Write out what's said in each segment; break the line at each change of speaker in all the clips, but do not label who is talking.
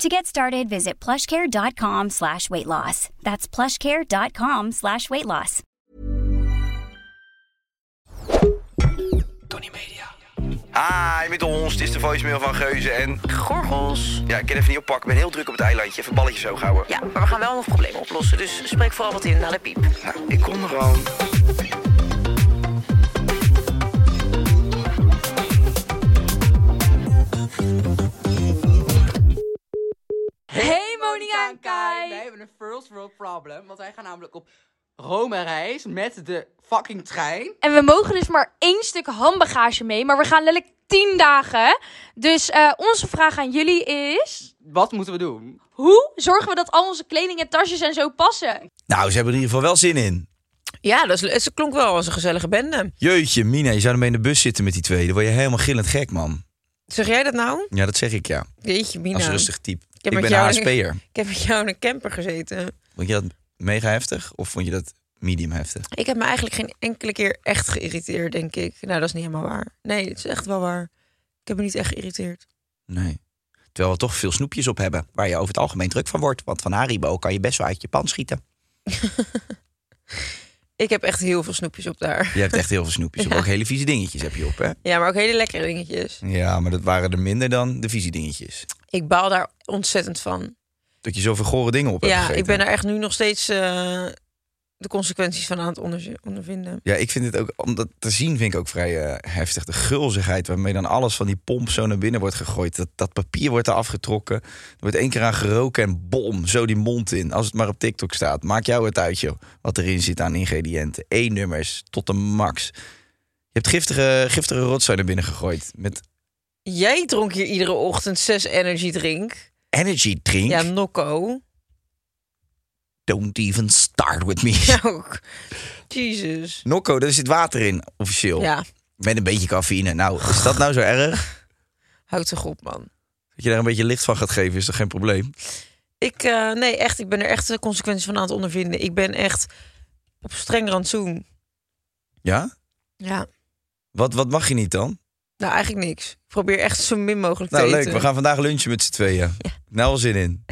To get started, visit plushcare.com slash weight loss. That's plushcare.com slash weight loss.
Tony Media.
Hi, met ons. Dit is de voicemail van Geuze en... Gorgels. Ja, ik kan even niet oppakken. Ik ben heel druk op het eilandje. Even balletjes hoog houden.
Ja, maar we gaan wel nog problemen oplossen. Dus spreek vooral wat in naar de piep.
Nou, ik kom er al.
Hey Monika en
Wij
Kai!
hebben een first world problem, want wij gaan namelijk op Rome reis met de fucking trein.
En we mogen dus maar één stuk handbagage mee, maar we gaan letterlijk tien dagen. Dus eh, onze vraag aan jullie is:
Wat moeten we doen?
hoe zorgen we dat al onze kleding en tasjes en zo passen?
Nou, ze hebben er in ieder geval wel zin in.
Ja, dat is, het klonk wel als een gezellige bende.
Jeetje, Mina, je zou ermee in de bus zitten met die twee. Dan word je helemaal gillend gek, man.
Zeg jij dat nou?
Ja, dat zeg ik ja.
Jeetje, Mina.
Als rustig type. Ik,
heb met
ben een
jou-
HSP'er.
Ik heb met jou in een camper gezeten.
Vond je dat mega heftig of vond je dat medium heftig?
Ik heb me eigenlijk geen enkele keer echt geïrriteerd, denk ik. Nou, dat is niet helemaal waar. Nee, het is echt wel waar. Ik heb me niet echt geïrriteerd.
Nee. Terwijl we toch veel snoepjes op hebben, waar je over het algemeen druk van wordt. Want van Haribo kan je best wel uit je pan schieten.
Ik heb echt heel veel snoepjes op daar.
Je hebt echt heel veel snoepjes op. Ook hele vieze dingetjes heb je op, hè?
Ja, maar ook hele lekkere dingetjes.
Ja, maar dat waren er minder dan de vieze dingetjes.
Ik baal daar ontzettend van.
Dat je zoveel gore dingen op hebt
Ja,
gegeten.
ik ben er echt nu nog steeds eh, de consequenties van aan het onderzo- ondervinden.
Ja, ik vind het ook, om dat te zien vind ik ook vrij eh, heftig. De gulzigheid waarmee dan alles van die pomp zo naar binnen wordt gegooid. Dat, dat papier wordt er afgetrokken. Er wordt één keer aan geroken en bom, zo die mond in. Als het maar op TikTok staat, maak jou het uit joh. Wat erin zit aan ingrediënten. E-nummers tot de max. Je hebt giftige, giftige rotzooi naar binnen gegooid. Met
Jij dronk hier iedere ochtend zes energy drink.
energy drink.
Ja, Nokko.
Don't even start with me.
Ja, ook. Jesus.
Nokko, daar zit water in, officieel.
Ja,
Met een beetje cafeïne. Nou, is dat nou zo erg?
houd toch op, man.
Dat je daar een beetje licht van gaat geven, is toch geen probleem?
Ik, eh, nee, echt, ik ben er echt de consequenties van aan het ondervinden. Ik ben echt op streng rantsoen.
Ja?
Ja,
Wat, wat mag je niet dan?
nou eigenlijk niks. Ik probeer echt zo min mogelijk
Nou,
te
leuk.
eten.
We gaan vandaag lunchen met z'n tweeën. Nou, al zin in.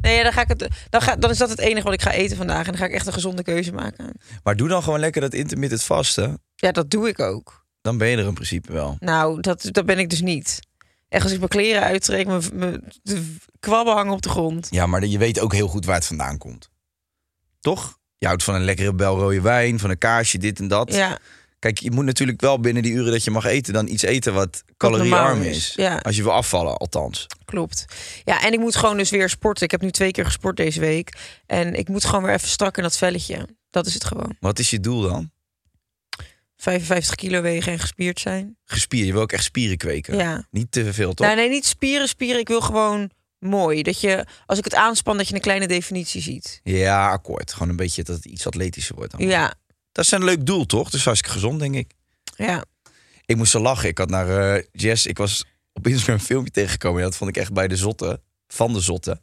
Nee, ja, dan, ga ik het, dan, ga, dan is dat het enige wat ik ga eten vandaag. En dan ga ik echt een gezonde keuze maken.
Maar doe dan gewoon lekker dat intermittent vasten.
Ja, dat doe ik ook.
Dan ben je er in principe wel.
Nou, dat, dat ben ik dus niet. Echt, als ik mijn kleren uittrek, mijn, mijn de kwabben hangen op de grond.
Ja, maar je weet ook heel goed waar het vandaan komt. Toch? Je houdt van een lekkere bel rode wijn, van een kaasje, dit en dat.
Ja,
Kijk, je moet natuurlijk wel binnen die uren dat je mag eten... dan iets eten wat caloriearm
normaal is,
is.
ja.
Als je wil afvallen, althans.
klopt. Ja, en ik moet gewoon dus weer sporten. Ik heb nu twee keer gesport deze week. En ik moet gewoon weer even strak in dat velletje. Dat is het gewoon.
Wat is je doel dan?
55 kilo wegen en gespierd zijn.
Gespier. Je wil ook echt spieren kweken.
Ja.
Niet te veel, toch?
Nou, nee, niet spieren, spieren. Ik wil gewoon mooi. Dat je, als ik het aanspan, dat je een kleine definitie ziet.
Ja, akkoord. Gewoon een beetje dat het iets atletischer wordt. Dan.
Nou- Ja,
Dat is een leuk doel, toch? Dus hartstikke gezond, denk ik.
ja.
Ik moest zo lachen. Ik had naar eh, Jess, ik was op Instagram een filmpje tegengekomen. En dat vond ik echt bij de zotte, van de zotte.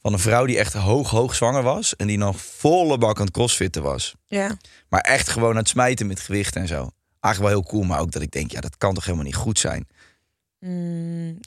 Van een vrouw die echt hoog, hoog zwanger was. En die nog volle bak aan het crossfitten was.
Ja,
Maar echt gewoon aan het smijten met gewicht en zo. Eigenlijk wel heel cool, maar ook dat ik denk, ja, dat kan toch helemaal niet goed zijn.
Mm,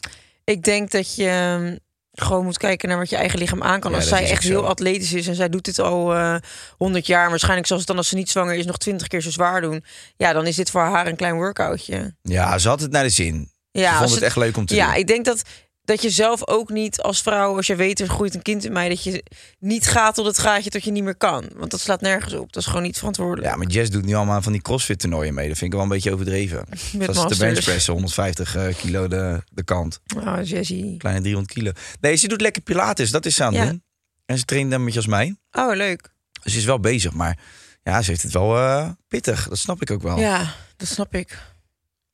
ik denk dat je mm, gewoon moet kijken naar wat je eigen lichaam aan kan.
Ja,
als
dat
zij
is ook
echt
zo.
heel atletisch is en zij doet dit al eh, honderd jaar, waarschijnlijk zelfs dan als ze niet zwanger is nog twintig keer zo zwaar doen. Ja, dan is dit voor haar een klein workoutje.
Ja, ze had het naar de zin.
Ja,
ze
als
vond het
het-
echt leuk om te
ja,
doen.
ik denk dat dat je zelf ook niet als vrouw, als je weet er groeit een kind in mij, dat je niet gaat tot het gaatje tot je niet meer kan. Want dat slaat nergens op. Dat is gewoon niet verantwoordelijk.
Ja, maar Jess doet nu allemaal aan van die crossfit toernooien mee. Dat vind ik wel een beetje overdreven. Dat is de
masters.
benchpress, 150 eh, kilo de, de kant.
Ah, Jessie.
Kleine 300 kilo. Nee, ze doet lekker pilates. Dat is ze aan het
Ja.
doen. En ze traint dan met je als mij.
Oh, leuk.
Dus ze is wel bezig. Maar ja, ze heeft het wel eh, pittig. Dat snap ik ook wel.
Ja, dat snap ik.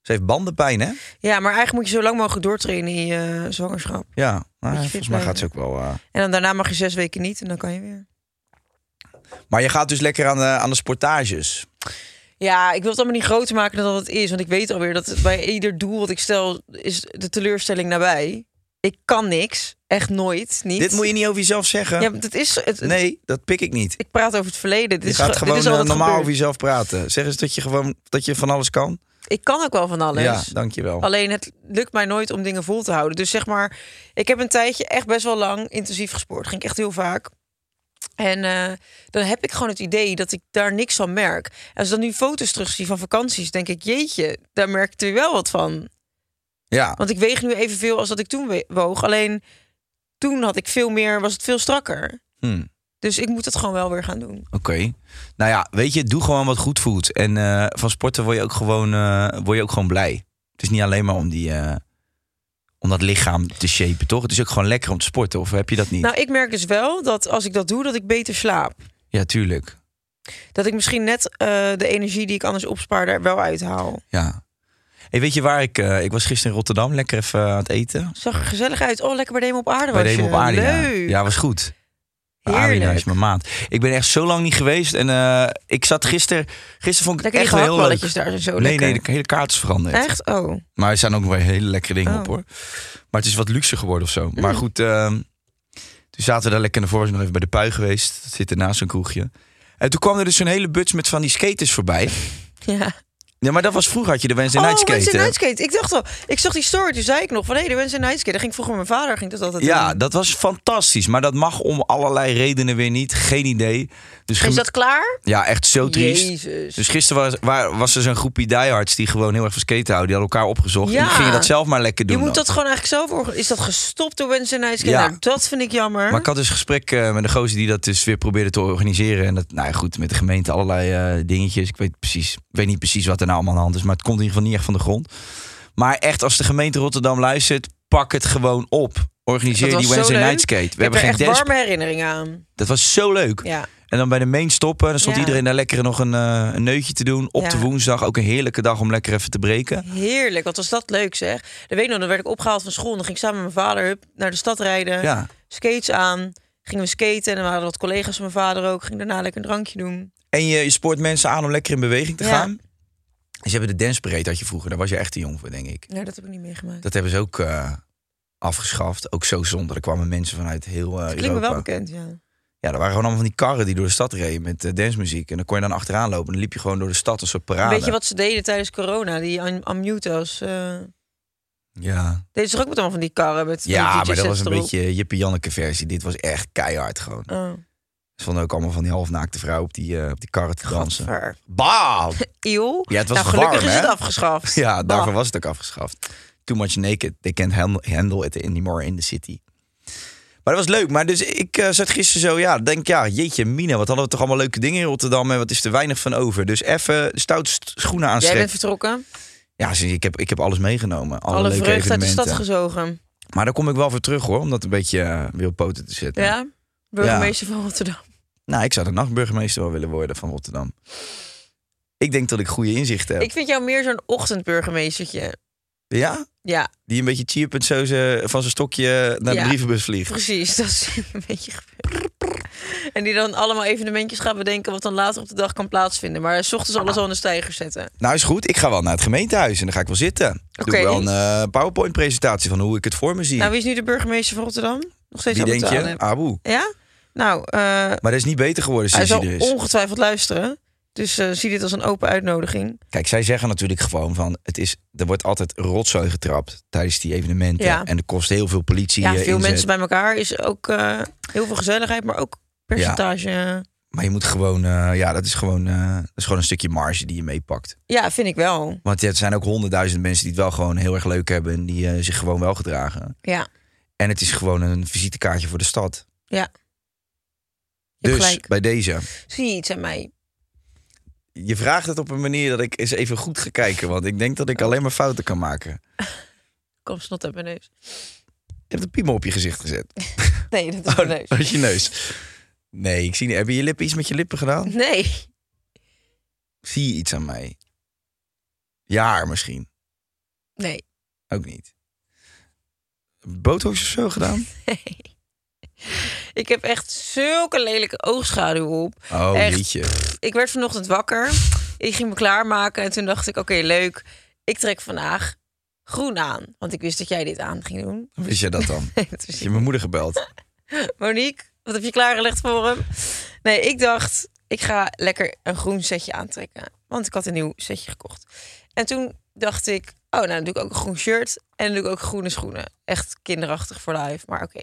Ze heeft bandenpijn, hè?
Ja, maar eigenlijk moet je zo lang mogelijk doortrainen in je eh, zwangerschap.
Ja. Maar
fit
volgens mij
blijven.
gaat ze ook wel... eh,
En dan daarna mag je zes weken niet en dan kan je weer.
Maar je gaat dus lekker aan de, aan de sportages.
Ja, ik wil het allemaal niet groter maken dan dat het is. Want ik weet alweer dat het bij ieder doel wat ik stel, is de teleurstelling nabij. Ik kan niks. Echt nooit. Niet.
Dit moet je niet over jezelf zeggen.
Ja, maar dat is... Het, het-
nee, dat pik ik niet.
Ik praat over het verleden. Dit
Je
is,
gaat
ge-
gewoon
dit is
eh,
al
normaal
wat gebeurd.
over jezelf praten. Zeg eens dat je, gewoon, dat je van alles kan.
Ik kan ook wel van alles.
Ja, dankjewel.
Alleen het lukt mij nooit om dingen vol te houden. Dus zeg maar, ik heb een tijdje echt best wel lang intensief gesport. Ging ik echt heel vaak. En eh, dan heb ik gewoon het idee dat ik daar niks van merk. En als ik dan nu foto's terugzie van vakanties, denk ik, jeetje, daar merk ik er wel wat van.
Ja,
Want ik weeg nu evenveel als dat ik toen we- woog. Alleen toen had ik veel meer, was het veel strakker.
Hm,
Dus ik moet het gewoon wel weer gaan doen.
oké. Nou ja, weet je, doe gewoon wat goed voelt. En eh, van sporten word je, ook gewoon, eh, word je ook gewoon blij. Het is niet alleen maar om, die, eh, om dat lichaam te shapen, toch? Het is ook gewoon lekker om te sporten, of heb je dat niet?
Nou, ik merk dus wel dat als ik dat doe, dat ik beter slaap.
ja, tuurlijk.
Dat ik misschien net eh, de energie die ik anders opspaar er wel uithaal.
Ja. Hey, weet je waar ik... eh, ik was gisteren in Rotterdam, lekker even eh, aan het eten.
Zag er gezellig uit. Oh, lekker bij Demo op aarde
Bij
was
de
je.
op aarde. ja.
Leuk.
Ja, was goed. Arena
Heerlijk.
is mijn maat. Ik ben echt zo lang niet geweest. En eh, ik zat gisteren... Gisteren vond ik het
Lekker
echt
die
wel heel leuk.
gehaktballetjes daar zijn zo
Nee,
lekker.
nee, de hele kaart is veranderd.
Echt? Oh.
Maar er staan ook wel hele lekkere dingen
Oh. Mm.
op hoor. Maar het is wat luxe geworden of zo. Maar goed, ehm, toen zaten we daar lekker naar voren. Zijn nog even bij de pui geweest. Dat zit er naast zo'n kroegje. En toen kwam er dus zo'n hele buts met van die skaters voorbij.
Ja.
Ja, maar dat was vroeger had je de Wednesday
oh,
Night Skaten.
Wednesday Night Skate. Ik dacht al, ik zag die story, toen zei ik nog van hé, de Wednesday Night Skate. Daar ging ik vroeger met mijn vader ging dat altijd
Ja,
doen.
dat was fantastisch. Maar dat mag om allerlei redenen weer niet. Geen idee. Dus gem-
Is dat klaar?
Ja, echt zo triest.
Jezus.
Dus gisteren was, waar- was er zo'n groepje diehards die gewoon heel erg van skaten houden. Die hadden elkaar opgezocht.
Ja.
En die gingen dat zelf maar lekker doen.
je moet
dan.
dat gewoon eigenlijk zelf organiseren. Is dat gestopt door Wednesday Night Skate?
Ja.
Nou, dat vind ik jammer.
Maar ik had dus een gesprek eh, met een gozer die dat dus weer probeerde te organiseren. En dat, nou ja, goed, met de gemeente allerlei eh, dingetjes. Ik weet, precies, ik weet niet precies wat er nou allemaal aan de hand is. Maar het komt in ieder geval niet echt van de grond. Maar echt, als de gemeente Rotterdam luistert, pak het gewoon op.
Dat
Organiseer
was
die
zo
Wednesday
leuk.
Night Skate.
ik
We
heb
hebben
er
geen
echt
dash.
warme herinneringen aan.
Dat was zo leuk.
Ja.
En dan bij de main stoppen. En dan stond
Ja.
iedereen daar lekker nog een, eh, een neutje te doen. Op
Ja.
de woensdag. Ook een heerlijke dag om lekker even te breken.
Heerlijk, wat was dat leuk zeg. Dan weet ik nog, dan werd ik opgehaald van school. Dan ging ik samen met mijn vader hup, naar de stad rijden.
Ja.
Skates aan. Gingen we skaten. En dan waren er wat collega's van mijn vader ook. Ging daarna lekker een drankje doen.
En je, je spoort mensen aan om lekker in beweging te
Ja.
gaan. En ze hebben de dance parade, had je vroeger. Daar was je echt te jong voor, denk ik.
Nou, dat heb ik niet meegemaakt.
Dat hebben ze ook eh, afgeschaft. Ook zo zonde. Er kwamen mensen vanuit heel eh
Dat klinkt me
Europa.
wel bekend, ja.
ja, er waren gewoon allemaal van die karren die door de stad reden met eh, dancemuziek. En dan kon je dan achteraan lopen. En dan liep je gewoon door de stad als een parade.
Weet je wat ze deden tijdens corona? Die am- ammutas. eh
Ja,
deden ze toch ook met allemaal van die karren? Met van die
ja
DJ
maar dat was
sets
een
erop?
beetje Jippie Janneke versie. Dit was echt keihard gewoon.
Oh,
Ze vonden ook allemaal van die halfnaakte vrouw op die, eh, op die karren te dansen.
ver.
Bam!
Eeuw.
Ja, het was
nou, gelukkig
warm,
is
hè?
het afgeschaft.
Ja, daarvoor
Bah.
was het ook afgeschaft. Too much naked. They can't handle- handle it anymore in the city. Maar dat was leuk. Maar dus ik eh, zat gisteren zo, ja, denk ja, jeetje mina, wat hadden we toch allemaal leuke dingen in Rotterdam en wat is er weinig van over. Dus even stout st- schoenen
Jij
aanstrekken.
bent vertrokken.
Ja, zie je, ik heb, ik heb alles meegenomen. Alle,
Alle,
leuke
vreugde uit de
evenementen.
stad gezogen.
Maar daar kom ik wel voor terug hoor, om dat een beetje eh, weer op poten te zetten.
Ja? Burgemeester van Rotterdam.
Nou, ik zou de nachtburgemeester wel willen worden van Rotterdam. Ik denk dat ik goede inzichten heb.
Ik vind jou meer zo'n ochtendburgemeestertje.
Ja?
Ja,
Die een beetje chirpend zo ze- van zijn stokje naar
Ja.
de brievenbus vliegt.
precies. Dat is een beetje gebeurd. En die dan allemaal evenementjes gaan bedenken... wat dan later op de dag kan plaatsvinden. Maar s ochtends alles al in de stijger zetten.
Nou is goed, ik ga wel naar het gemeentehuis en dan ga ik wel zitten. Doe
Oké.
ik wel een eh, PowerPoint-presentatie van hoe ik het voor me zie.
Nou, wie is nu de burgemeester van Rotterdam? Nog steeds
Wie
Albert
denk je? Ah.
Allen.
Aboe.
Ja? Nou, eh,
Maar dat is niet beter geworden
hij
sinds hij
zal
er is.
ongetwijfeld luisteren. Dus eh, zie dit als een open uitnodiging.
Kijk, zij zeggen natuurlijk gewoon van, het is, er wordt altijd rotzooi getrapt tijdens die evenementen.
Ja.
En er kost heel veel politie
Ja,
eh,
veel
inzet.
mensen bij elkaar is ook eh, heel veel gezelligheid... maar ook percentage... Ja.
Maar je moet gewoon, eh, ja, dat is gewoon, eh, dat is gewoon een stukje marge die je meepakt.
vind ik wel.
Want ja, er zijn ook honderdduizend mensen die het wel gewoon heel erg leuk hebben en die eh, zich gewoon wel gedragen.
Ja.
En het is gewoon een visitekaartje voor de stad.
Ja. Je
Dus
hebt gelijk.
bij deze.
Zie je iets aan mij?
Je vraagt het op een manier dat ik eens even goed ga kijken. Want ik denk dat ik alleen maar fouten kan maken.
Kom snot uit mijn neus.
Je hebt een piemel op je gezicht gezet.
Nee, dat is
Oh,
mijn neus.
Uit je neus. Nee, ik zie niet. Heb je je lippen iets met je lippen gedaan?
Nee.
Zie je iets aan mij? Je haar misschien.
Nee.
Ook niet. Botox of zo gedaan?
Nee. Ik heb echt zulke lelijke oogschaduw op.
Oh,
Echt.
jeetje.
Ik werd vanochtend wakker. Ik ging me klaarmaken. En toen dacht ik, oké, leuk. Ik trek vandaag groen aan. Want ik wist dat jij dit aan ging doen.
Hoe Wist je dat dan?
Nee, dat
Heb
wist
je
ik.
mijn moeder gebeld?
Monique, wat heb je klaargelegd voor hem? Nee, ik dacht, ik ga lekker een groen setje aantrekken. Want ik had een nieuw setje gekocht. En toen dacht ik, oh, nou dan doe ik ook een groen shirt. En dan doe ik ook groene schoenen. Echt kinderachtig voor life, maar oké.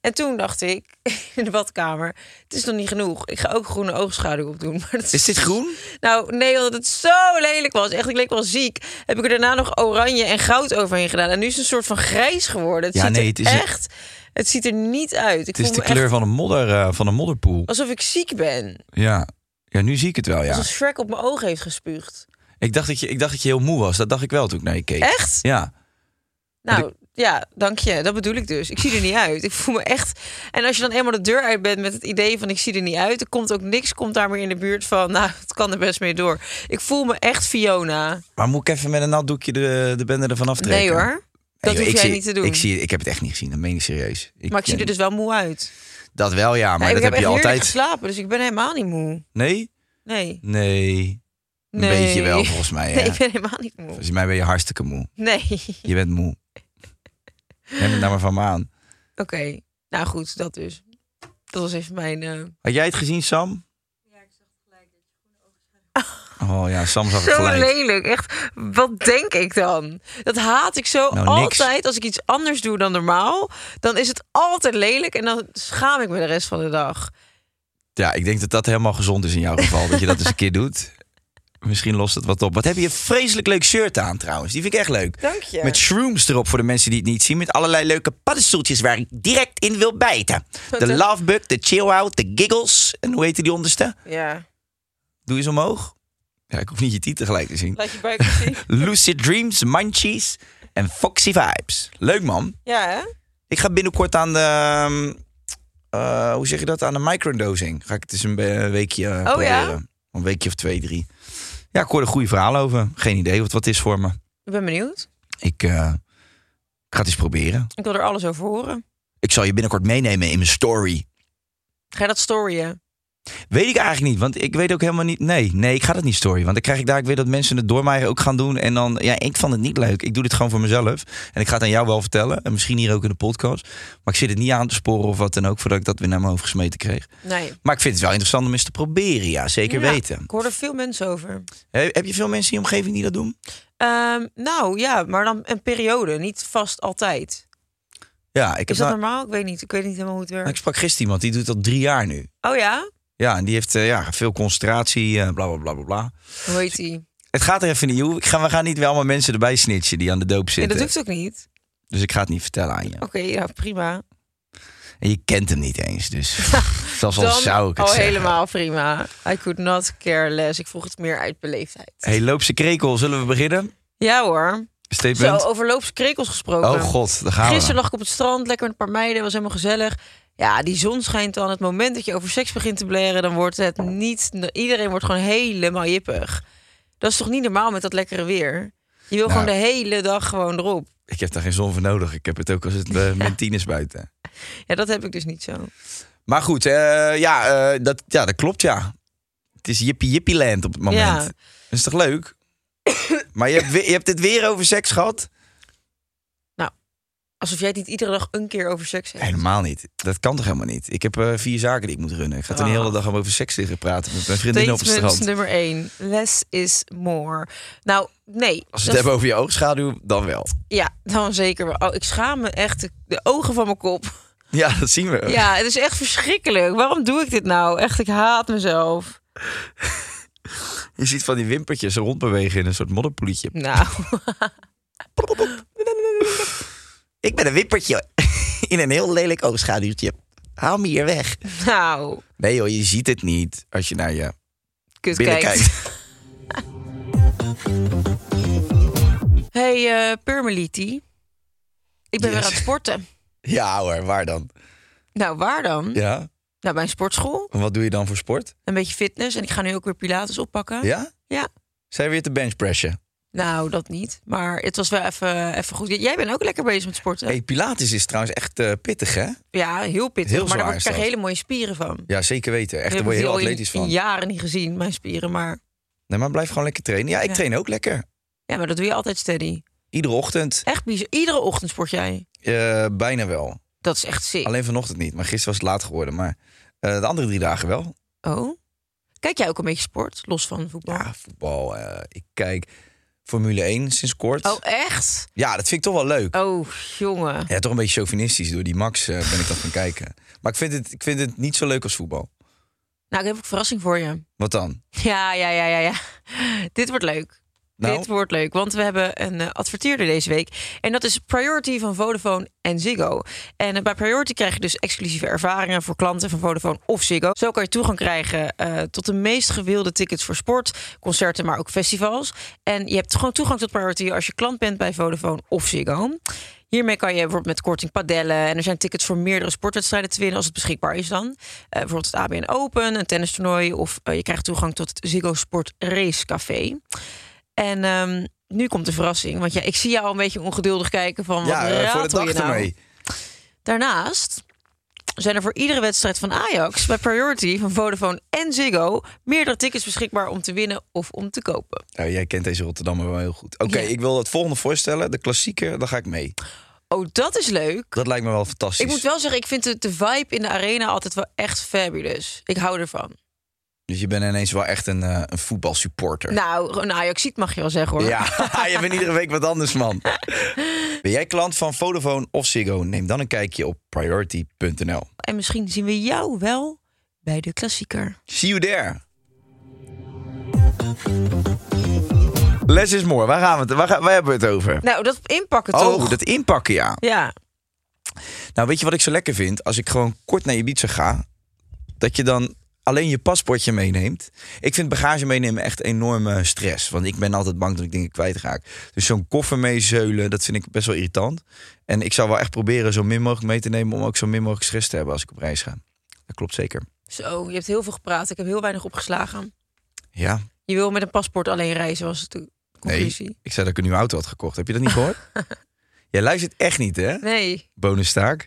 En toen dacht ik, in de badkamer, het is nog niet genoeg. Ik ga ook groene oogschaduw opdoen. Maar dat
Is dit groen?
nou, nee, omdat het zo lelijk was. Echt, ik leek wel ziek. Heb ik er daarna nog oranje en goud overheen gedaan. En nu is het een soort van grijs geworden. Het
Ja,
ziet
nee,
er
het is een-
echt... Het ziet er niet uit. Ik
Het is
voel
de
me echt
kleur van een, modder, eh, van een modderpoel.
alsof ik ziek ben.
Ja. ja, nu zie ik het wel, ja.
Alsof Shrek op mijn ogen heeft gespuugd.
Ik dacht, dat je, ik dacht dat je heel moe was. Dat dacht ik wel toen ik naar je keek.
Echt?
Ja.
Nou, ja, dank je. Dat bedoel ik dus. Ik zie er niet uit. Ik voel me echt... En als je dan eenmaal de deur uit bent met het idee van ik zie er niet uit... er komt ook niks, komt daar meer in de buurt van... nou, het kan er best mee door. Ik voel me echt Fiona.
Maar moet ik even met een nat doekje de, de bende ervan aftrekken?
Nee hoor, dat
Nee,
hoef
ik
jij
zie-
niet te doen.
Ik, zie, ik heb het echt niet gezien, dat meen ik serieus.
maar ik zie er
eh,
dus wel moe uit.
Dat wel, ja, maar
Ja,
dat heb,
ik heb echt
je
heerlijk
altijd.
geslapen, dus ik ben helemaal niet moe.
Nee?
Nee.
Nee. Een
nee.
beetje wel, volgens mij. Ja.
Nee, ik ben helemaal niet moe.
Volgens mij ben je hartstikke moe.
Nee.
Je bent moe. Neem het nou maar van me aan.
Oké. Nou goed, dat dus. Dat was even mijn... eh,
Had jij het gezien, Sam? Oh ja, Sam zag het
Zo
gelijk.
lelijk. Echt, wat denk ik dan? Dat haat ik zo
Nou, niks.
altijd. Als ik iets anders doe dan normaal, dan is het altijd lelijk. En dan schaam ik me de rest van de dag.
Ja, ik denk dat dat helemaal gezond is in jouw geval. dat je dat eens een keer doet. Misschien lost het wat op. Wat heb je een vreselijk leuk shirt aan trouwens. Die vind ik echt leuk.
Dank je.
Met shrooms erop voor de mensen die het niet zien. Met allerlei leuke paddenstoeltjes waar ik direct in wil bijten. De
een-
lovebug, de chill-out, de giggles. En hoe heette die onderste?
Ja.
Doe eens omhoog. Ja, ik hoef niet je titel gelijk te zien.
Laat je buik eens zien.
Lucid Dreams, Munchies en Foxy Vibes. Leuk man.
Ja, hè?
Ik ga binnenkort aan de... ehm, eh, hoe zeg je dat? Aan de microdosing. Ga ik het eens een be- weekje eh,
ja?
proberen. Een weekje of twee, drie. Ja, ik hoorde goede verhalen over. Geen idee wat wat is voor me.
Ik ben benieuwd.
Ik, eh, ik ga het eens proberen.
Ik wil er alles over horen.
Ik zal je binnenkort meenemen in mijn story.
Ga je dat storyen?
Weet ik eigenlijk niet, want ik weet ook helemaal niet. Nee, nee, ik ga dat niet storyen. Want dan krijg ik daar weer dat mensen het door mij ook gaan doen. En dan, ja, ik vond het niet leuk. Ik doe dit gewoon voor mezelf. En ik ga het aan jou wel vertellen. En misschien hier ook in de podcast. Maar ik zit het niet aan te sporen of wat dan ook. Voordat ik dat weer naar mijn hoofd gesmeten kreeg.
Nee.
Maar ik vind het wel interessant om eens te proberen. Ja, zeker
Ja,
weten.
Ik hoor er veel mensen over.
He- Heb je veel mensen in je omgeving die dat doen?
Ehm, nou ja, maar dan een periode, niet vast altijd.
Ja, ik,
Is
heb
dat
nou-
normaal? Ik weet niet. Ik weet niet helemaal hoe het
ik
werkt.
sprak gisteren iemand. Die doet dat drie jaar nu.
Oh ja?
Ja, en die heeft eh, ja, veel concentratie. eh, Bla bla bla bla bla.
Hoe heet die?
Het gaat er even niet hoe. Ik ga, we gaan niet weer allemaal mensen erbij snitchen die aan de doop
Ja,
zitten.
dat hoeft ook niet.
Dus ik ga het niet vertellen aan je.
Oké, ja, prima.
En je kent hem niet eens, dus zelfs al
Dan
zou ik het
al
zeggen.
helemaal prima. I could not care less. Ik vroeg het meer uit beleefdheid.
Hey, loopse krekel, zullen we beginnen?
Ja hoor. Zo,
Statement.
over loopskrekels gesproken.
oh god, daar gaan
Gisteren
we.
lag ik op het strand, lekker met een paar meiden. was helemaal gezellig. Ja, die zon schijnt dan. Het moment dat je over seks begint te bleren, dan wordt het niet... Iedereen wordt gewoon helemaal jippig. Dat is toch niet normaal met dat lekkere weer? Je wil
Nou.
gewoon de hele dag gewoon erop.
Ik heb daar geen zon voor nodig. Ik heb het ook als het eh, min tien is buiten.
Ja, dat heb ik dus niet zo.
Maar goed, eh, ja, eh, dat, ja, dat klopt ja. Het is jippie jippie land op het moment.
Ja.
Dat is toch leuk? maar je hebt, we- je hebt het weer over seks gehad?
Nou, Alsof jij het niet iedere dag een keer over seks hebt.
Helemaal niet. Dat kan toch helemaal niet? Ik heb eh, vier zaken die ik moet runnen. Ik ga er de
Ah.
hele dag over seks liggen praten met mijn vriendinnen op het
Statement
strand.
nummer 1. Less is more. Nou, nee.
Als we
dat-
het hebben over je oogschaduw, dan wel.
Ja, dan zeker. wel. Oh, ik schaam me echt de, de ogen van mijn kop.
Ja, dat zien we.
Ja, het is echt verschrikkelijk. Waarom doe ik dit nou? Echt, ik haat mezelf.
Je ziet van die wimpertjes rondbewegen in een soort modderpoeletje.
Nou,
Ik ben een wimpertje. in een heel lelijk oogschaduwtje. Haal me hier weg.
Nou,
Nee joh, je ziet het niet als je naar je
kut
binnen
kijkt.
kijkt.
hey, eh Purmeliti. Ik ben weer
Yes.
aan het sporten.
Ja hoor, waar dan?
Nou, waar dan?
Ja.
Nou, bij een sportschool.
En wat doe je dan voor sport?
Een beetje fitness. En ik ga nu ook weer pilates oppakken.
Ja?
Ja.
Zijn we weer te benchpressen?
Nou, dat niet. Maar het was wel even, even goed. Jij bent ook lekker bezig met sporten.
Hey, Pilates is trouwens echt eh, pittig hè?
Ja, heel pittig.
Heel
maar daar
zwaar
word-
is
krijg je
dat.
hele mooie spieren van.
Ja, zeker weten. Echt,
Ik
daar
heb
word je
het
heel
al in-
atletisch
in
van.
jaren niet gezien, mijn spieren. Maar,
Nee, maar blijf gewoon lekker trainen. Ja, ik
Ja.
train ook lekker.
ja, maar dat doe je altijd steady.
Iedere ochtend.
Echt bizar. Iedere ochtend sport jij.
Eh, bijna wel.
Dat is echt sick.
Alleen vanochtend niet. Maar gisteren was het laat geworden. Maar eh, de andere drie dagen wel.
Oh. Kijk jij ook een beetje sport, los van voetbal?
Ja, voetbal. eh, ik kijk Formule 1 sinds kort.
Oh, echt?
Ja, dat vind ik toch wel leuk.
Oh, jongen.
Ja, toch een beetje chauvinistisch. Door die Max eh, ben ik dat gaan kijken. Maar ik vind, het, ik vind het niet zo leuk als voetbal.
Nou, ik heb een verrassing voor je.
Wat dan?
Ja, ja, ja, ja, ja. Dit wordt leuk.
Nou?
Dit wordt leuk, want we hebben een eh, adverteerder deze week. En dat is Priority van Vodafone en Ziggo. En eh, bij Priority krijg je dus exclusieve ervaringen voor klanten van Vodafone of Ziggo. Zo kan je toegang krijgen eh, tot de meest gewilde tickets voor sport, concerten, maar ook festivals. En je hebt gewoon toegang tot Priority als je klant bent bij Vodafone of Ziggo. Hiermee kan je bijvoorbeeld met korting padellen. En er zijn tickets voor meerdere sportwedstrijden te winnen als het beschikbaar is dan. Eh, bijvoorbeeld het ABN Open, een tennistoernooi. Of eh, je krijgt toegang tot het Ziggo Sport Race Café. En ehm, nu komt de verrassing. Want ja, ik zie jou al een beetje ongeduldig kijken van...
ja,
wat
eh, voor de
ratel
dag
je nou?
ermee.
Daarnaast zijn er voor iedere wedstrijd van Ajax... bij Priority van Vodafone en Ziggo... meerdere tickets beschikbaar om te winnen of om te kopen.
Nou, jij kent deze Rotterdammer wel heel goed. Oké,
Ja.
ik wil het volgende voorstellen. De klassieker, daar ga ik mee.
Oh, dat is leuk.
Dat lijkt me wel fantastisch.
Ik moet wel zeggen, ik vind de, de vibe in de arena altijd wel echt fabulous. Ik hou ervan.
Dus je bent ineens wel echt een, eh, een voetbalsupporter.
Nou, een Ajaxiet mag je wel zeggen hoor.
Ja, je bent iedere week wat anders, man. Ben jij klant van Vodafone of Ziggo? Neem dan een kijkje op priority.nl.
En misschien zien we jou wel bij de klassieker.
See you there. Less is more. Waar, gaan we het, waar, gaan- waar hebben we het over?
Nou, dat inpakken
Oh,
toch?
dat inpakken, ja.
Ja.
Nou, weet je wat ik zo lekker vind? Als ik gewoon kort naar Ibiza ga, dat je dan alleen je paspoortje meeneemt. Ik vind bagage meenemen echt enorme stress. Want ik ben altijd bang dat ik dingen kwijtraak. Dus zo'n koffer meezeulen, dat vind ik best wel irritant. En ik zou wel echt proberen zo min mogelijk mee te nemen... om ook zo min mogelijk stress te hebben als ik op reis ga. Dat klopt zeker.
Zo, je hebt heel veel gepraat. Ik heb heel weinig opgeslagen.
Ja,
Je wil met een paspoort alleen reizen, was de
nee.
conclusie.
Ik zei dat ik een nieuwe auto had gekocht. Heb je dat niet gehoord? Jij luistert echt niet, hè?
Nee.
Bonustaak.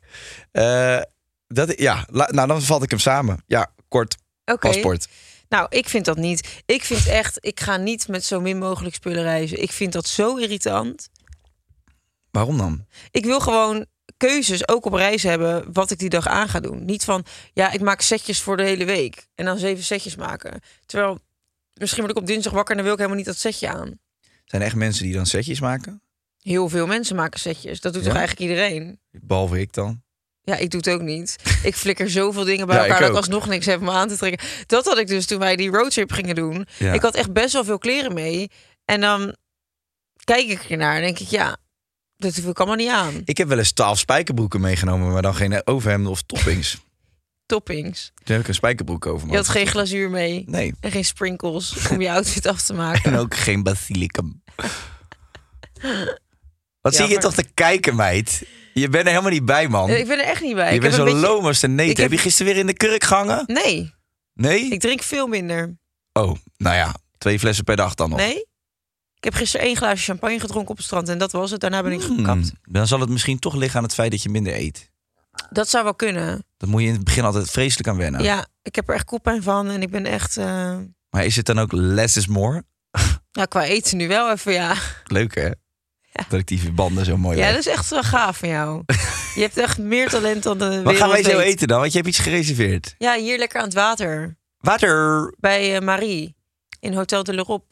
Eh, dat, ja, la- nou dan vat ik hem samen. Ja, kort.
Oké.
Paspoort.
Nou, ik vind dat niet. Ik vind echt, ik ga niet met zo min mogelijk spullen reizen. Ik vind dat zo irritant.
Waarom dan?
ik wil gewoon keuzes ook op reis hebben wat ik die dag aan ga doen. Niet van ja, ik maak setjes voor de hele week en dan zeven setjes maken. Terwijl misschien word ik op dinsdag wakker en dan wil ik helemaal niet dat setje aan.
Zijn er echt mensen die dan setjes maken?
Heel veel mensen maken setjes. Dat doet
Ja?
toch eigenlijk iedereen?
Behalve ik dan.
Ja, ik doe het ook niet. Ik flikker zoveel dingen bij
Ja,
elkaar
ik
dat ik
ook.
alsnog niks heb om aan te trekken. Dat had ik dus toen wij die roadtrip gingen doen.
Ja.
Ik had echt best wel veel kleren mee. En dan kijk ik ernaar en denk ik, ja, dat hoef ik allemaal niet aan.
Ik heb wel eens twaalf spijkerbroeken meegenomen, maar dan geen overhemden of toppings.
Toppings.
Toen heb ik een spijkerbroek over.
Je
mijn
had geen glazuur mee.
hoofd. Nee.
En geen sprinkles om je outfit af te maken.
En ook geen basilicum. Wat zie je
Jammer.
toch te kijken, meid? Je bent er helemaal niet bij, man.
Eh, Ik ben er echt niet bij.
je
ik
bent
heb
zo
een beetje-
loom als de neet.
Ik
Heb...
heb-
je gisteren weer in de kurk gehangen?
Nee,
Nee?
ik drink veel minder.
Oh, nou ja. Twee flessen per dag dan nog.
Nee? Ik heb gisteren één glaasje champagne gedronken op het strand en dat was het. Daarna ben ik
Hmm,
gekapt.
Dan zal het misschien toch liggen aan het feit dat je minder eet.
Dat zou wel kunnen.
Dat moet je in het begin altijd vreselijk aan wennen.
Ja, ik heb er echt koppijn van en ik ben echt... eh,
Maar is het dan ook less is more?
Nou, qua eten nu wel even, ja.
Leuk hè? Dat ik die verbanden zo mooi
Ja,
leg.
dat is echt wel gaaf van jou. Je hebt echt meer talent dan de
Wat gaan wij
wereld
zo
weet.
eten dan? Want je hebt iets gereserveerd.
Ja, hier lekker aan het water.
Water.
Bij eh, Marie. In Hotel de Lerop.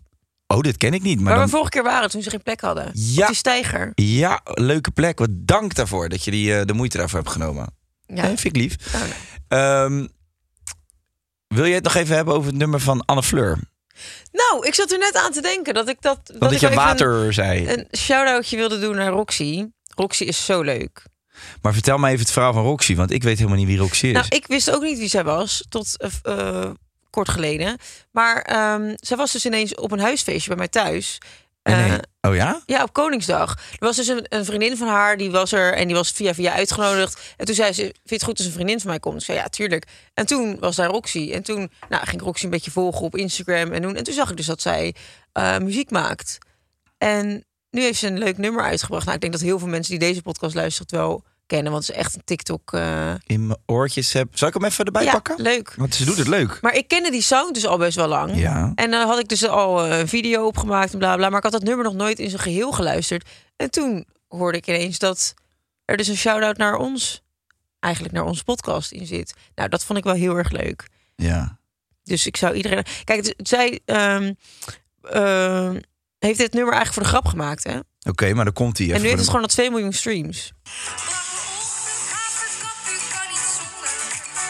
Oh, dit ken ik niet. Maar
Waar
dan...
we vorige keer waren toen ze geen plek hadden.
Ja.
Op die steiger.
Ja, leuke plek. Wat dank daarvoor dat je die, eh, de moeite daarvoor hebt genomen.
Ja.
Nee, vind ik lief.
Oh, nee.
Ehm, wil je het nog even hebben over het nummer van Anne Fleur?
Nou, ik zat er net aan te denken dat ik dat.
Want dat
ik
je
wel even
water zei.
Een, een shout-outje wilde doen naar Roxy. Roxy is zo leuk.
Maar vertel mij even het verhaal van Roxy, want ik weet helemaal niet wie Roxy is.
Nou, ik wist ook niet wie zij was tot eh, f- eh, kort geleden. Maar ehm, zij was dus ineens op een huisfeestje bij mij thuis.
En
Eh,
nee. Oh ja?
Ja, op Koningsdag. Er was dus een, een vriendin van haar, die was er en die was via via uitgenodigd. En toen zei ze, vind je het goed als een vriendin van mij komt? Ik zei, ja, tuurlijk. En toen was daar Roxy. En toen nou, ging ik Roxy een beetje volgen op Instagram. En, doen, en toen zag ik dus dat zij eh, muziek maakt. En nu heeft ze een leuk nummer uitgebracht. Nou, ik denk dat heel veel mensen die deze podcast luisteren het wel kennen. Want het is echt een TikTok... eh,
In mijn oortjes heb. Zal ik hem even erbij
ja,
pakken?
leuk.
Want ze doet het leuk.
Maar ik kende die sound dus al best wel lang.
Ja.
En dan had ik dus al eh, een video opgemaakt en bla bla. Maar ik had dat nummer nog nooit in zijn geheel geluisterd. En toen hoorde ik ineens dat er dus een shout-out naar ons, eigenlijk naar onze podcast in zit. Nou, dat vond ik wel heel erg leuk.
Ja.
Dus ik zou iedereen. Kijk, het- het- zij ehm, ehm, heeft dit nummer eigenlijk voor de grap gemaakt, hè?
Oké, maar dan komt hij even.
en nu heeft
voor
het
de-
gewoon al 2 miljoen streams.
Morgenochtend gaat het kap, u kan niet zonder.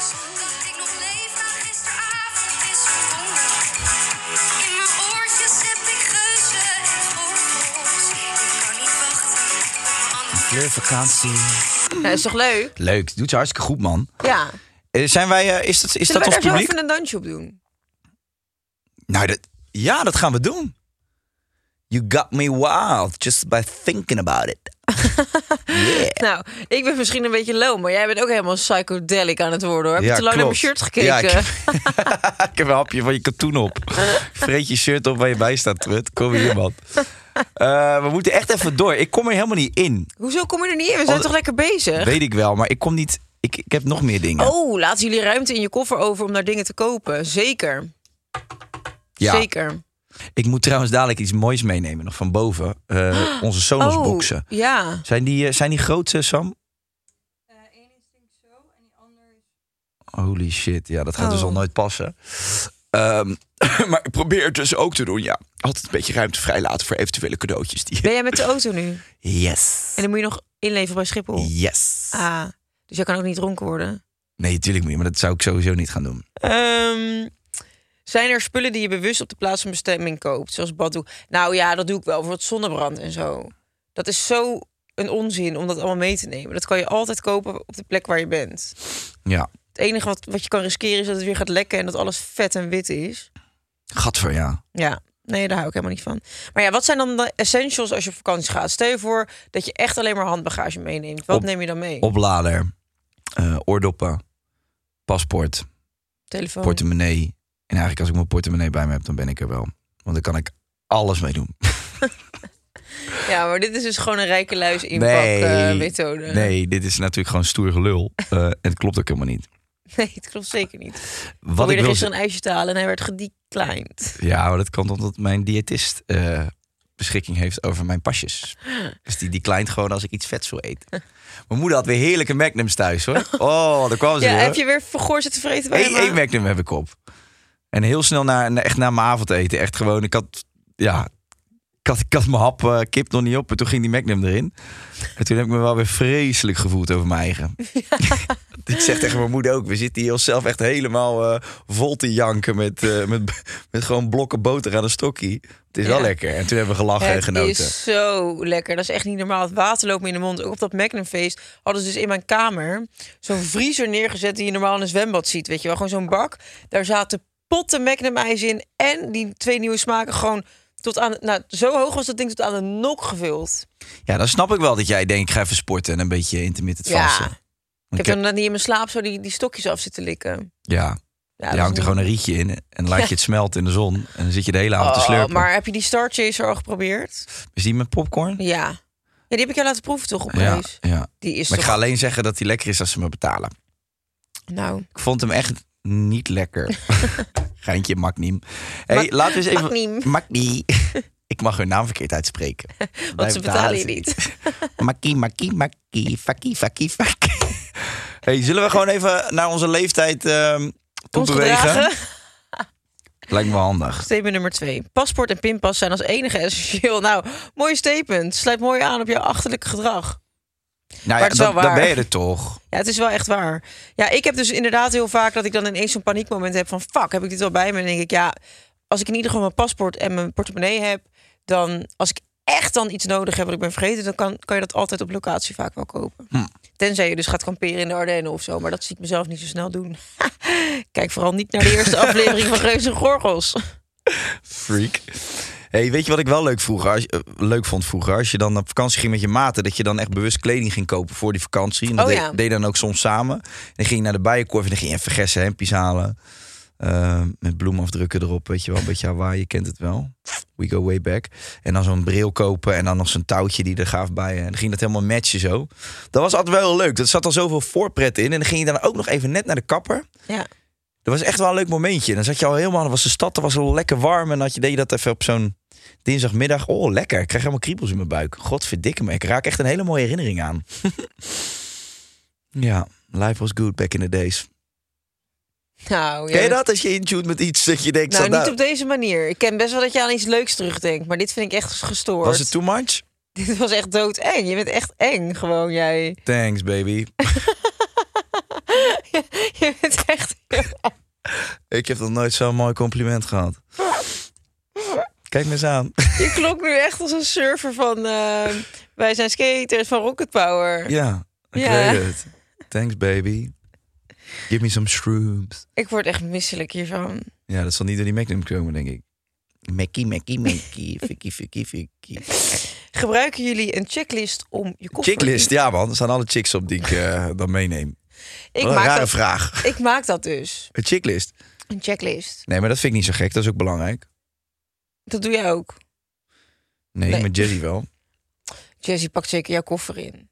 Zonder dat ik nog leef na gisteravond is verbonden. In mijn oortjes heb ik geuzen en gorgels. Ik kan niet wachten op mijn andere
Kleurvakantie. Hmm.
Nou, is toch leuk?
Leuk, doet ze hartstikke goed, man.
Ja.
Eh, zijn wij, eh, is dat, is dat
Zullen wij
ons
daar zo
publiek?
even een dansje op doen?
Nou, dat, ja, dat gaan we doen. You got me wild just by thinking about it. Yeah.
Nou, ik ben misschien een beetje low, maar jij bent ook helemaal psychedelic aan het worden hoor. Heb je
Ja,
te lang naar mijn
klopt.
shirt
Ja,
gekeken?
ik, ik heb een hapje van je katoen op. Vreet je shirt op waar je bij staat, Trut. Kom hier, man. Eh, we moeten echt even door. Ik kom er helemaal niet in.
Hoezo kom je er niet in? We zijn
Oh,
toch lekker bezig?
Weet ik wel, maar ik kom niet... Ik, ik heb nog meer dingen.
Oh, laten jullie ruimte in je koffer over om daar dingen te kopen. Zeker.
ja.
Zeker.
Ik moet trouwens dadelijk iets moois meenemen nog van boven. Eh,
Ah.
onze Sonos boxen.
Oh, ja.
Zijn die, eh, zijn die groot, eh, Sam? Holy shit, ja, dat gaat dus
Oh.
al nooit passen. Ehm, maar ik probeer het dus ook te doen, ja. Altijd een beetje ruimte vrijlaten voor eventuele cadeautjes. Die...
Ben jij met de auto nu?
Yes.
En dan moet je nog inleveren bij Schiphol.
Yes.
Ah, dus jij kan ook niet dronken worden.
Nee, tuurlijk niet, maar dat zou ik sowieso niet gaan doen.
Ehm, zijn er spullen die je bewust op de plaats van bestemming koopt? Zoals baddoek. Nou ja, dat doe ik wel. Voor het zonnebrand en zo. Dat is zo een onzin om dat allemaal mee te nemen. Dat kan je altijd kopen op de plek waar je bent.
Ja,
Het enige wat, wat je kan riskeren is dat het weer gaat lekken en dat alles vet en wit is.
gat voor ja.
Ja, nee, daar hou ik helemaal niet van. Maar ja, wat zijn dan de essentials als je op vakantie gaat? Stel je voor dat je echt alleen maar handbagage meeneemt. Wat
Op-
neem je dan mee?
Oplader, eh, oordoppen, paspoort,
Telefoon.
portemonnee. En eigenlijk als ik mijn portemonnee bij me heb, dan ben ik er wel. Want dan kan ik alles mee doen.
Ja, maar dit is dus gewoon een rijke luis inpak eh, methode.
Nee, dit is natuurlijk gewoon stoer gelul. Eh, en het klopt ook helemaal niet.
Nee, het klopt zeker niet.
Wat
Probeerde
ik wil
gisteren een ijsje te halen en hij werd gedeclined.
zeggen- Ja, maar dat komt omdat mijn diëtist eh, beschikking heeft over mijn pasjes. Dus die declined gewoon als ik iets vets wil eten. Mijn moeder had weer heerlijke magnums thuis hoor. Oh, daar kwam ze
Ja,
weer.
heb je weer vergoor zitten vreten bij
Eén
hem?
één magnum heb ik op. En heel snel na, na- echt na mijn avondeten. Echt gewoon, ik had, ja, ik had, ik had mijn hap eh, kip nog niet op. En toen ging die magnum erin. En toen heb ik me wel weer vreselijk gevoeld over mijn eigen. ik zeg tegen mijn moeder ook. We zitten hier onszelf echt helemaal eh, vol te janken. Met, eh, met, met gewoon blokken boter aan een stokkie. Het is wel
Ja.
lekker. En toen hebben we gelachen en
Het
genoten.
is zo lekker. Dat is echt niet normaal. Het water loopt me in de mond. Ook op dat Magnumfeest hadden ze dus in mijn kamer zo'n vriezer neergezet die je normaal in een zwembad ziet. Weet je wel, gewoon zo'n bak. Daar zaten potten Magnum ijs in en die twee nieuwe smaken gewoon tot aan, nou, zo hoog was dat ding tot aan de nok gevuld.
Ja, dan snap ik wel dat jij denkt, ik ga even sporten en een beetje intermittent
Ja.
vasten.
Ik
Ik
heb dan net niet in mijn slaap zo die, die stokjes af zitten likken.
ja,
Ja,
je
dat
hangt
is
er
niet-
gewoon een rietje in en laat je het smelten in de zon. En dan zit je de hele avond te
Oh,
slurpen.
maar heb je die Star Chaser al geprobeerd?
Is die met popcorn?
Ja. Ja, die heb ik jou laten proeven toch op
ja,
reis?
ja.
Die is
Maar ik
toch...
ga alleen zeggen dat die lekker is als ze me betalen.
Nou,
Ik vond hem echt niet lekker. Geintje, Magniem. Hey,
Mag-
laten we eens even...
Magniem.
Magnie. ik mag hun naam verkeerd uitspreken. Wij
want ze betalen je
ze
niet.
Makkie, makkie, makkie. Fakkie, fakkie, fakkie. Hey, zullen we gewoon even naar onze leeftijd ehm toe
Ons
bewegen?
gedragen.
Lijkt me wel handig.
Statement nummer twee. Paspoort en pinpas zijn als enige essentieel. Nou, mooi statement. Sluit mooi aan op jouw achterlijk gedrag.
Nou ja,
het is wel
dan, dan
waar.
ben je er toch.
Ja, het is wel echt waar. Ja, ik heb dus inderdaad heel vaak dat ik dan ineens zo'n paniekmoment heb van... fuck, heb ik dit wel bij me? En dan denk ik, ja, als ik in ieder geval mijn paspoort en mijn portemonnee heb... dan als ik echt dan iets nodig hebt wat ik ben vergeten, dan kan, kan je dat altijd op locatie vaak wel kopen.
Hm.
Tenzij je dus gaat kamperen in de Ardennen of zo. Maar dat zie ik mezelf niet zo snel doen. Kijk vooral niet naar de eerste aflevering van Reuze en Gorgels.
Freak. Hey, weet je wat ik wel leuk, vroeger, als je- eh, leuk vond vroeger? Als je dan op vakantie ging met je maten, dat je dan echt bewust kleding ging kopen voor die vakantie. En dat
Oh,
deed-
ja.
deed je dan ook soms samen. En dan ging je naar de bijenkorf en dan ging je even vergessen hemdjes halen. Eh, met bloemafdrukken erop, weet je wel. Een beetje Hawaii, je kent het wel. We go way back. En dan zo'n bril kopen en dan nog zo'n touwtje die er gaaf bij. En dan ging dat helemaal matchen zo. Dat was altijd wel heel leuk. Dat zat al zoveel voorpret in. En dan ging je dan ook nog even net naar de kapper.
Ja.
Dat was echt wel een leuk momentje. Dan zat je al helemaal, dan was de stad, dan was al lekker warm. En dan had je, deed je dat even op zo'n dinsdagmiddag. Oh, lekker. Ik krijg helemaal kriebels in mijn buik. Godverdikke me. Ik raak echt een hele mooie herinnering aan. ja, life was good back in the days.
Nou,
Ken je
ja,
dat? Als je intuned met iets, dat je denkt...
Nou,
zo,
niet op deze manier. Ik ken best wel dat je aan iets leuks terugdenkt, maar dit vind ik echt gestoord.
Was het too much?
Dit was echt doodeng. Je bent echt eng, gewoon jij.
Thanks, baby.
Je bent echt.
Ik heb nog nooit zo'n mooi compliment gehad. Kijk me eens aan.
Je klonk nu echt als een surfer van. eh, wij zijn skaters van Rocket Power.
Ja, ik
Ja.
weet het. Thanks, baby. Give me some shrooms.
Ik word echt misselijk hiervan.
Ja, dat zal niet door die Magnum komen, denk ik. Mekkie, mekkie, mekkie, fikkie, fikkie, fikkie.
Gebruiken jullie een checklist om je koffer...
Chicklist, ja man. Er staan alle chicks op die ik eh, dan meeneem.
Ik
Wat een
maak,
rare
dat,
vraag.
ik maak dat dus.
Een chicklist?
Een checklist.
Nee, maar dat vind ik niet zo gek. Dat is ook belangrijk.
Dat doe jij ook.
Nee,
Nee.
met Jesse wel.
Jessie pakt zeker jouw koffer in.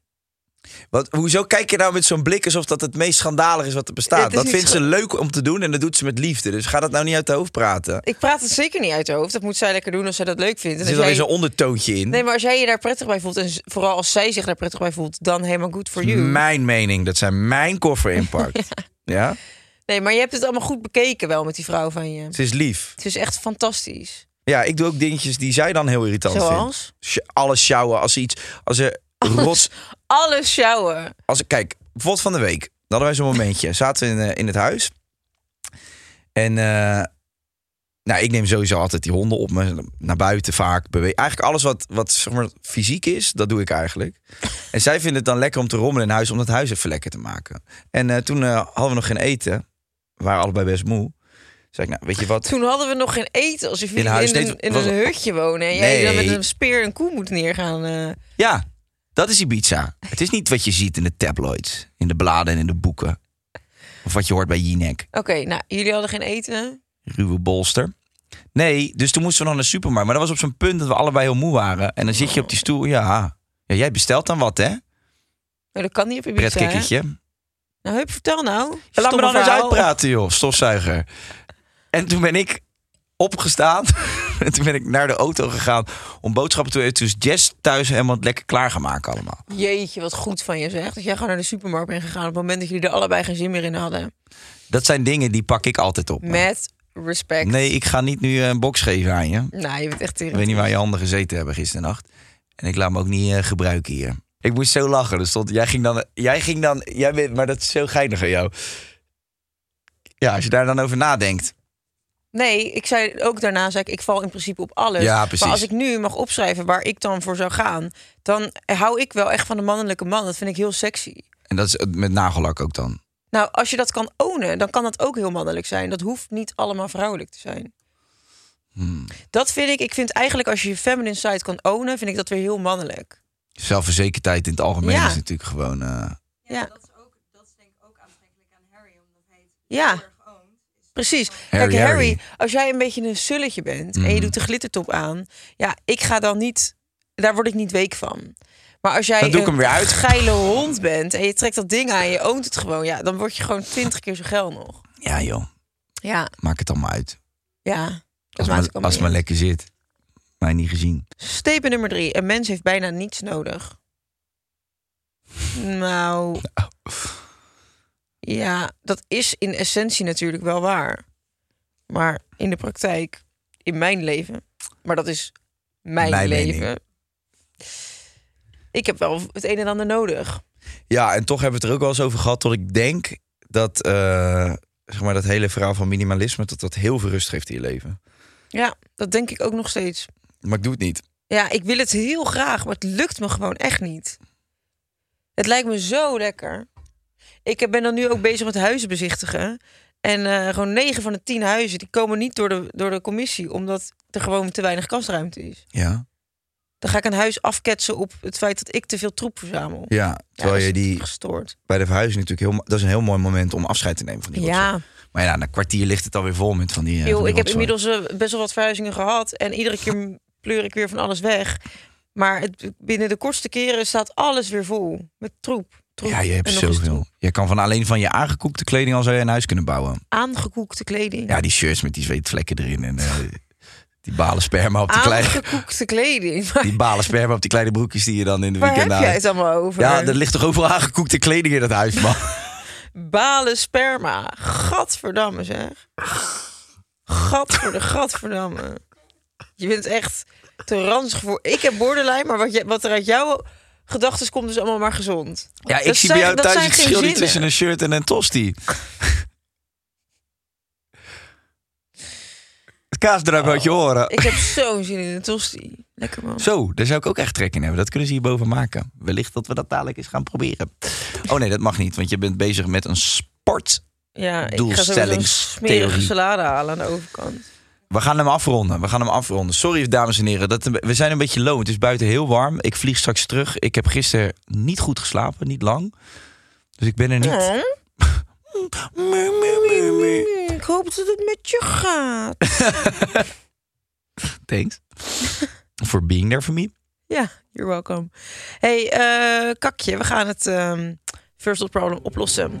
Wat, hoezo kijk je nou met zo'n blik alsof dat het meest schandalig is wat er
Ja, het
bestaat?
is
Dat
niet
vindt ze
scha-
leuk om te doen en dat doet ze met liefde. Dus ga dat nou niet uit de hoofd praten.
Ik praat het zeker niet uit de hoofd. Dat moet zij lekker doen als zij dat leuk vindt. En
Er zit
als
alweer
jij-
zo'n ondertoontje in.
Nee, maar als jij je daar prettig bij voelt... en z- vooral als zij zich daar prettig bij voelt... dan helemaal good for you.
Mijn mening, dat zij mijn koffer inpakt. ja?
Nee, maar je hebt het allemaal goed bekeken wel met die vrouw van je.
Ze is lief.
Het is echt fantastisch.
Ja, ik doe ook dingetjes die zij dan heel irritant vindt.
Zoals?
Sj- alles sjouwen als ze iets als er rots
Alles sjouwen.
als er, kijk bijvoorbeeld van de week dan hadden wij zo'n momentje zaten we in, eh, in het huis en eh, nou ik neem sowieso altijd die honden op me naar buiten vaak bewe- eigenlijk alles wat wat zeg maar fysiek is dat doe ik eigenlijk en zij vinden het dan lekker om te rommelen in huis om dat huis even lekker te maken en eh, toen eh, hadden we nog geen eten we waren allebei best moe zei ik nou weet je wat
Toen hadden we nog geen eten. Als je in,
huis
in, een,
niet.
in
Was-
een hutje wonen... en jij dan
Nee.
met een speer een koe moet neergaan... eh.
Ja, dat is Ibiza. Het is niet wat je ziet in de tabloids, in de bladen en in de boeken. Of wat je hoort bij Jinek,
Oké, nou, jullie hadden geen eten.
ruwe bolster. Nee, dus toen moesten we nog naar de supermarkt. Maar dat was op zo'n punt dat we allebei heel moe waren. En dan zit je op die stoel, ja. ja jij bestelt dan wat, hè?
Maar Oh, dat kan niet op Ibiza. hè?
Pretkikkertje.
Nou, hup, vertel nou.
Ja, laat me
Stomme
dan eens
verhaal.
uitpraten, joh, stofzuiger. En toen ben ik opgestaan. en toen ben ik naar de auto gegaan om boodschappen te doen. En Toen is Jess thuis helemaal lekker klaargemaakt allemaal.
Jeetje, wat goed van je zeg. Dat jij gewoon naar de supermarkt bent gegaan... op het moment dat jullie er allebei geen zin meer in hadden.
Dat zijn dingen die pak ik altijd op.
Met respect.
Nee, ik ga niet nu eh, een box geven aan je.
Nou, je bent echt
Ik weet
tegen.
niet waar je handen gezeten hebben gisternacht. En ik laat me ook niet eh, gebruiken hier. Ik moest zo lachen. Er stond, jij ging dan, jij ging dan, jij bent, maar dat is zo geinig aan jou. Ja, als je daar dan over nadenkt.
Nee, ik zei ook daarna, zei ik, ik val in principe op alles.
Ja, precies.
Maar als ik nu mag opschrijven waar ik dan voor zou gaan... dan hou ik wel echt van de mannelijke man. Dat vind ik heel sexy.
En dat is het met nagellak ook dan.
Nou, als je dat kan ownen, dan kan dat ook heel mannelijk zijn. Dat hoeft niet allemaal vrouwelijk te zijn.
Hmm.
Dat vind ik, ik vind eigenlijk als je je feminine side kan ownen, vind ik dat weer heel mannelijk.
Zelfverzekerdheid in het algemeen
Ja.
is natuurlijk gewoon. eh,
Ja. Ja, precies. Kijk,
Harry,
Harry,
Harry. Mhm.
als jij een beetje een sulletje bent en je doet de glittertop aan, ja, ik ga dan niet, daar word ik niet week van. Maar als jij
Dan doe ik hem weer uit.
een geile hond bent en je trekt dat ding aan en je oont het gewoon, ja, dan word je gewoon twintig keer zo geil nog.
ja, joh,
Ja,
maak het allemaal uit.
ja. Dat
Als
maakt
maar,
ook allemaal
als
niet
maar
uit.
lekker zit. Mij niet gezien.
Statement nummer drie. Een mens heeft bijna niets nodig. Nou.
Oh.
Ja, dat is in essentie natuurlijk wel waar. Maar in de praktijk, in mijn leven. Maar dat is mijn,
Mijn mening.
leven. Ik heb wel het een en ander nodig.
Ja, en toch hebben we het er ook wel eens over gehad. Tot ik denk dat, eh, zeg maar, dat hele verhaal van minimalisme. dat dat heel veel rust geeft in je leven.
Ja, dat denk ik ook nog steeds.
Maar ik doe het niet.
Ja, ik wil het heel graag, maar het lukt me gewoon echt niet. Het lijkt me zo lekker. Ik ben dan nu ook bezig met huizen bezichtigen. En eh, gewoon 9 van de 10 huizen die komen niet door de, door de commissie, omdat er gewoon te weinig kastruimte is.
Ja.
Dan ga ik een huis afketsen op het feit dat ik te veel troep verzamel. Ja,
Ja, terwijl
dat
je
is
die
gestoord.
bij de verhuizing natuurlijk heel... Dat is een heel mooi moment om afscheid te nemen van die rotzooi.
Ja,
Maar ja, na een kwartier ligt het alweer vol met van die, eh, van
joh,
die
ik heb
rotzooi.
inmiddels eh, best wel wat verhuizingen gehad en iedere keer pleur ik weer van alles weg. Maar het, binnen de kortste keren staat alles weer vol met troep. troep
Ja, je hebt
en nog eens troep.
zoveel. Je kan van alleen van je aangekoekte kleding al zou je een huis kunnen bouwen.
aangekoekte kleding.
Ja, die shirts met die zweetvlekken erin en eh, die balen sperma op die kleine,
Aangekoekte kleding. Maar
die balen sperma op die kleine broekjes die je dan in de
waar heb
weekend
jij het allemaal over?
Ja, er ligt toch overal aangekoekte kleding in dat huis, man.
Balen sperma. Gadverdamme zeg. Gadverde, gadverdamme. Je bent echt te ranzig voor... Ik heb borderline, maar wat, je, wat er uit jouw gedachten komt is allemaal maar gezond.
Ja, ik
Dat
zie
zijn-
bij jou
dat
thuis
zijn
het
geen
verschil niet
zinnen.
tussen een shirt en een tosti. Het kaasdrank uit je horen.
Oh. Ik heb zo'n zin in een tosti. Lekker man.
Zo, daar zou ik ook echt trek in hebben. Dat kunnen ze hierboven maken. Wellicht dat we dat dadelijk eens gaan proberen. Oh nee, dat mag niet, want je bent bezig met een sport.
Ja, ik ga zo een
Doelstellingstheorie.
smerige salade halen aan de overkant.
We gaan hem afronden. We gaan hem afronden. Sorry, dames en heren. Dat, we zijn een beetje low. Het is buiten heel warm. Ik vlieg straks terug. Ik heb gisteren niet goed geslapen, niet lang. Dus ik ben er niet.
Oh,
Mie, mie, mie, mie.
ik hoop dat het met je gaat.
Thanks. For being there for me.
Ja, you're welcome. Hey, eh, kakje, we gaan het ehm first world problem oplossen.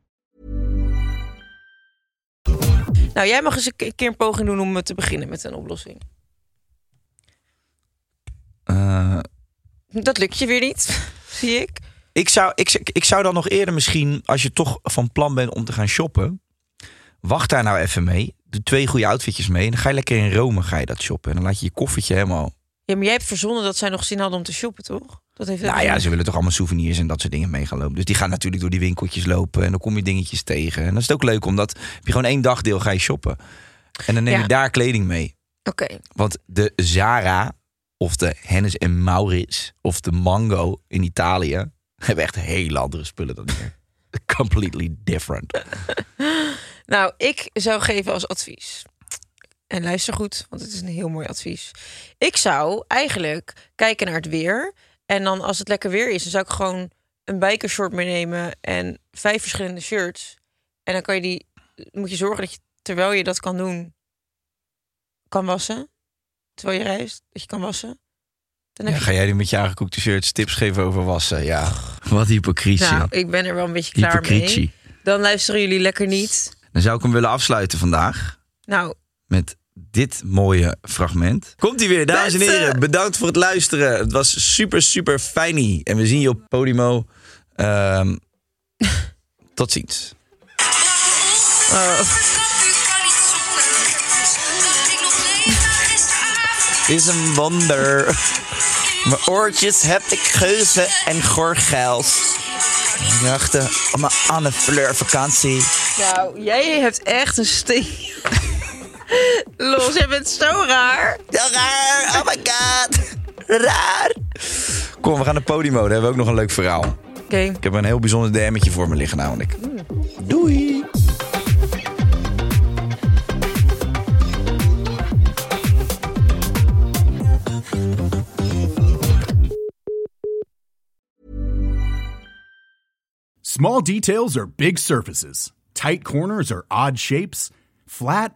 Nou, jij mag eens een ke- keer een poging doen om eh, te beginnen met een oplossing.
Eh,
Dat lukt je weer niet, zie ik.
ik, zou, ik, zou- ik zou dan nog eerder misschien, als je toch van plan bent om te gaan shoppen, wacht daar nou even mee. Doe twee goede outfitjes mee. En dan ga je lekker in Rome ga je dat shoppen. En dan laat je je koffertje helemaal.
Ja, maar jij hebt verzonnen dat zij nog zin hadden om te shoppen, toch? Dat heeft
Nou ja, ze willen toch allemaal souvenirs en dat soort dingen mee gaan lopen. Dus die gaan natuurlijk door die winkeltjes lopen. En dan kom je dingetjes tegen. En dan is het ook leuk, omdat heb je gewoon één dagdeel ga je shoppen. En dan neem
Ja.
je daar kleding mee.
Oké,
Want de Zara of de Hennis en Maurits of de Mango in Italië hebben echt hele andere spullen dan hier. Completely different.
nou, ik zou geven als advies. En luister goed, want het is een heel mooi advies. Ik zou eigenlijk kijken naar het weer. En dan als het lekker weer is, dan zou ik gewoon een bikershort meenemen en vijf verschillende shirts. En dan kan je die, moet je zorgen dat je terwijl je dat kan doen, kan wassen. Terwijl je reist, dat je kan wassen. Dan heb
Ja,
je-
ga jij nu met je aangekoekte shirts tips geven over wassen? Ja, wat hypocrisie.
nou, ik ben er wel een beetje klaar mee.
hypocrisie.
Dan luisteren jullie lekker niet.
Dan zou ik hem willen afsluiten vandaag
Nou,
met dit mooie fragment. eh, Komt ie weer, dames en
Mensen!
heren. Bedankt voor het luisteren. Het was super, super fijn. En we zien je op Podimo. Ehm, tot ziens. is een wonder. Mijn oortjes heb ik geuzen en gorgels. Nachten op mijn Anne Fleur vakantie.
nou jij hebt echt een steen. Los, jij bent zo raar.
Zo raar, oh my god. Raar. Kom, we gaan naar Podimo. Daar hebben we ook nog een leuk verhaal.
Oké,
Ik heb een heel bijzonder DM'tje voor me liggen namelijk. Doei.
Small details are big surfaces. Tight corners are odd shapes. Flat,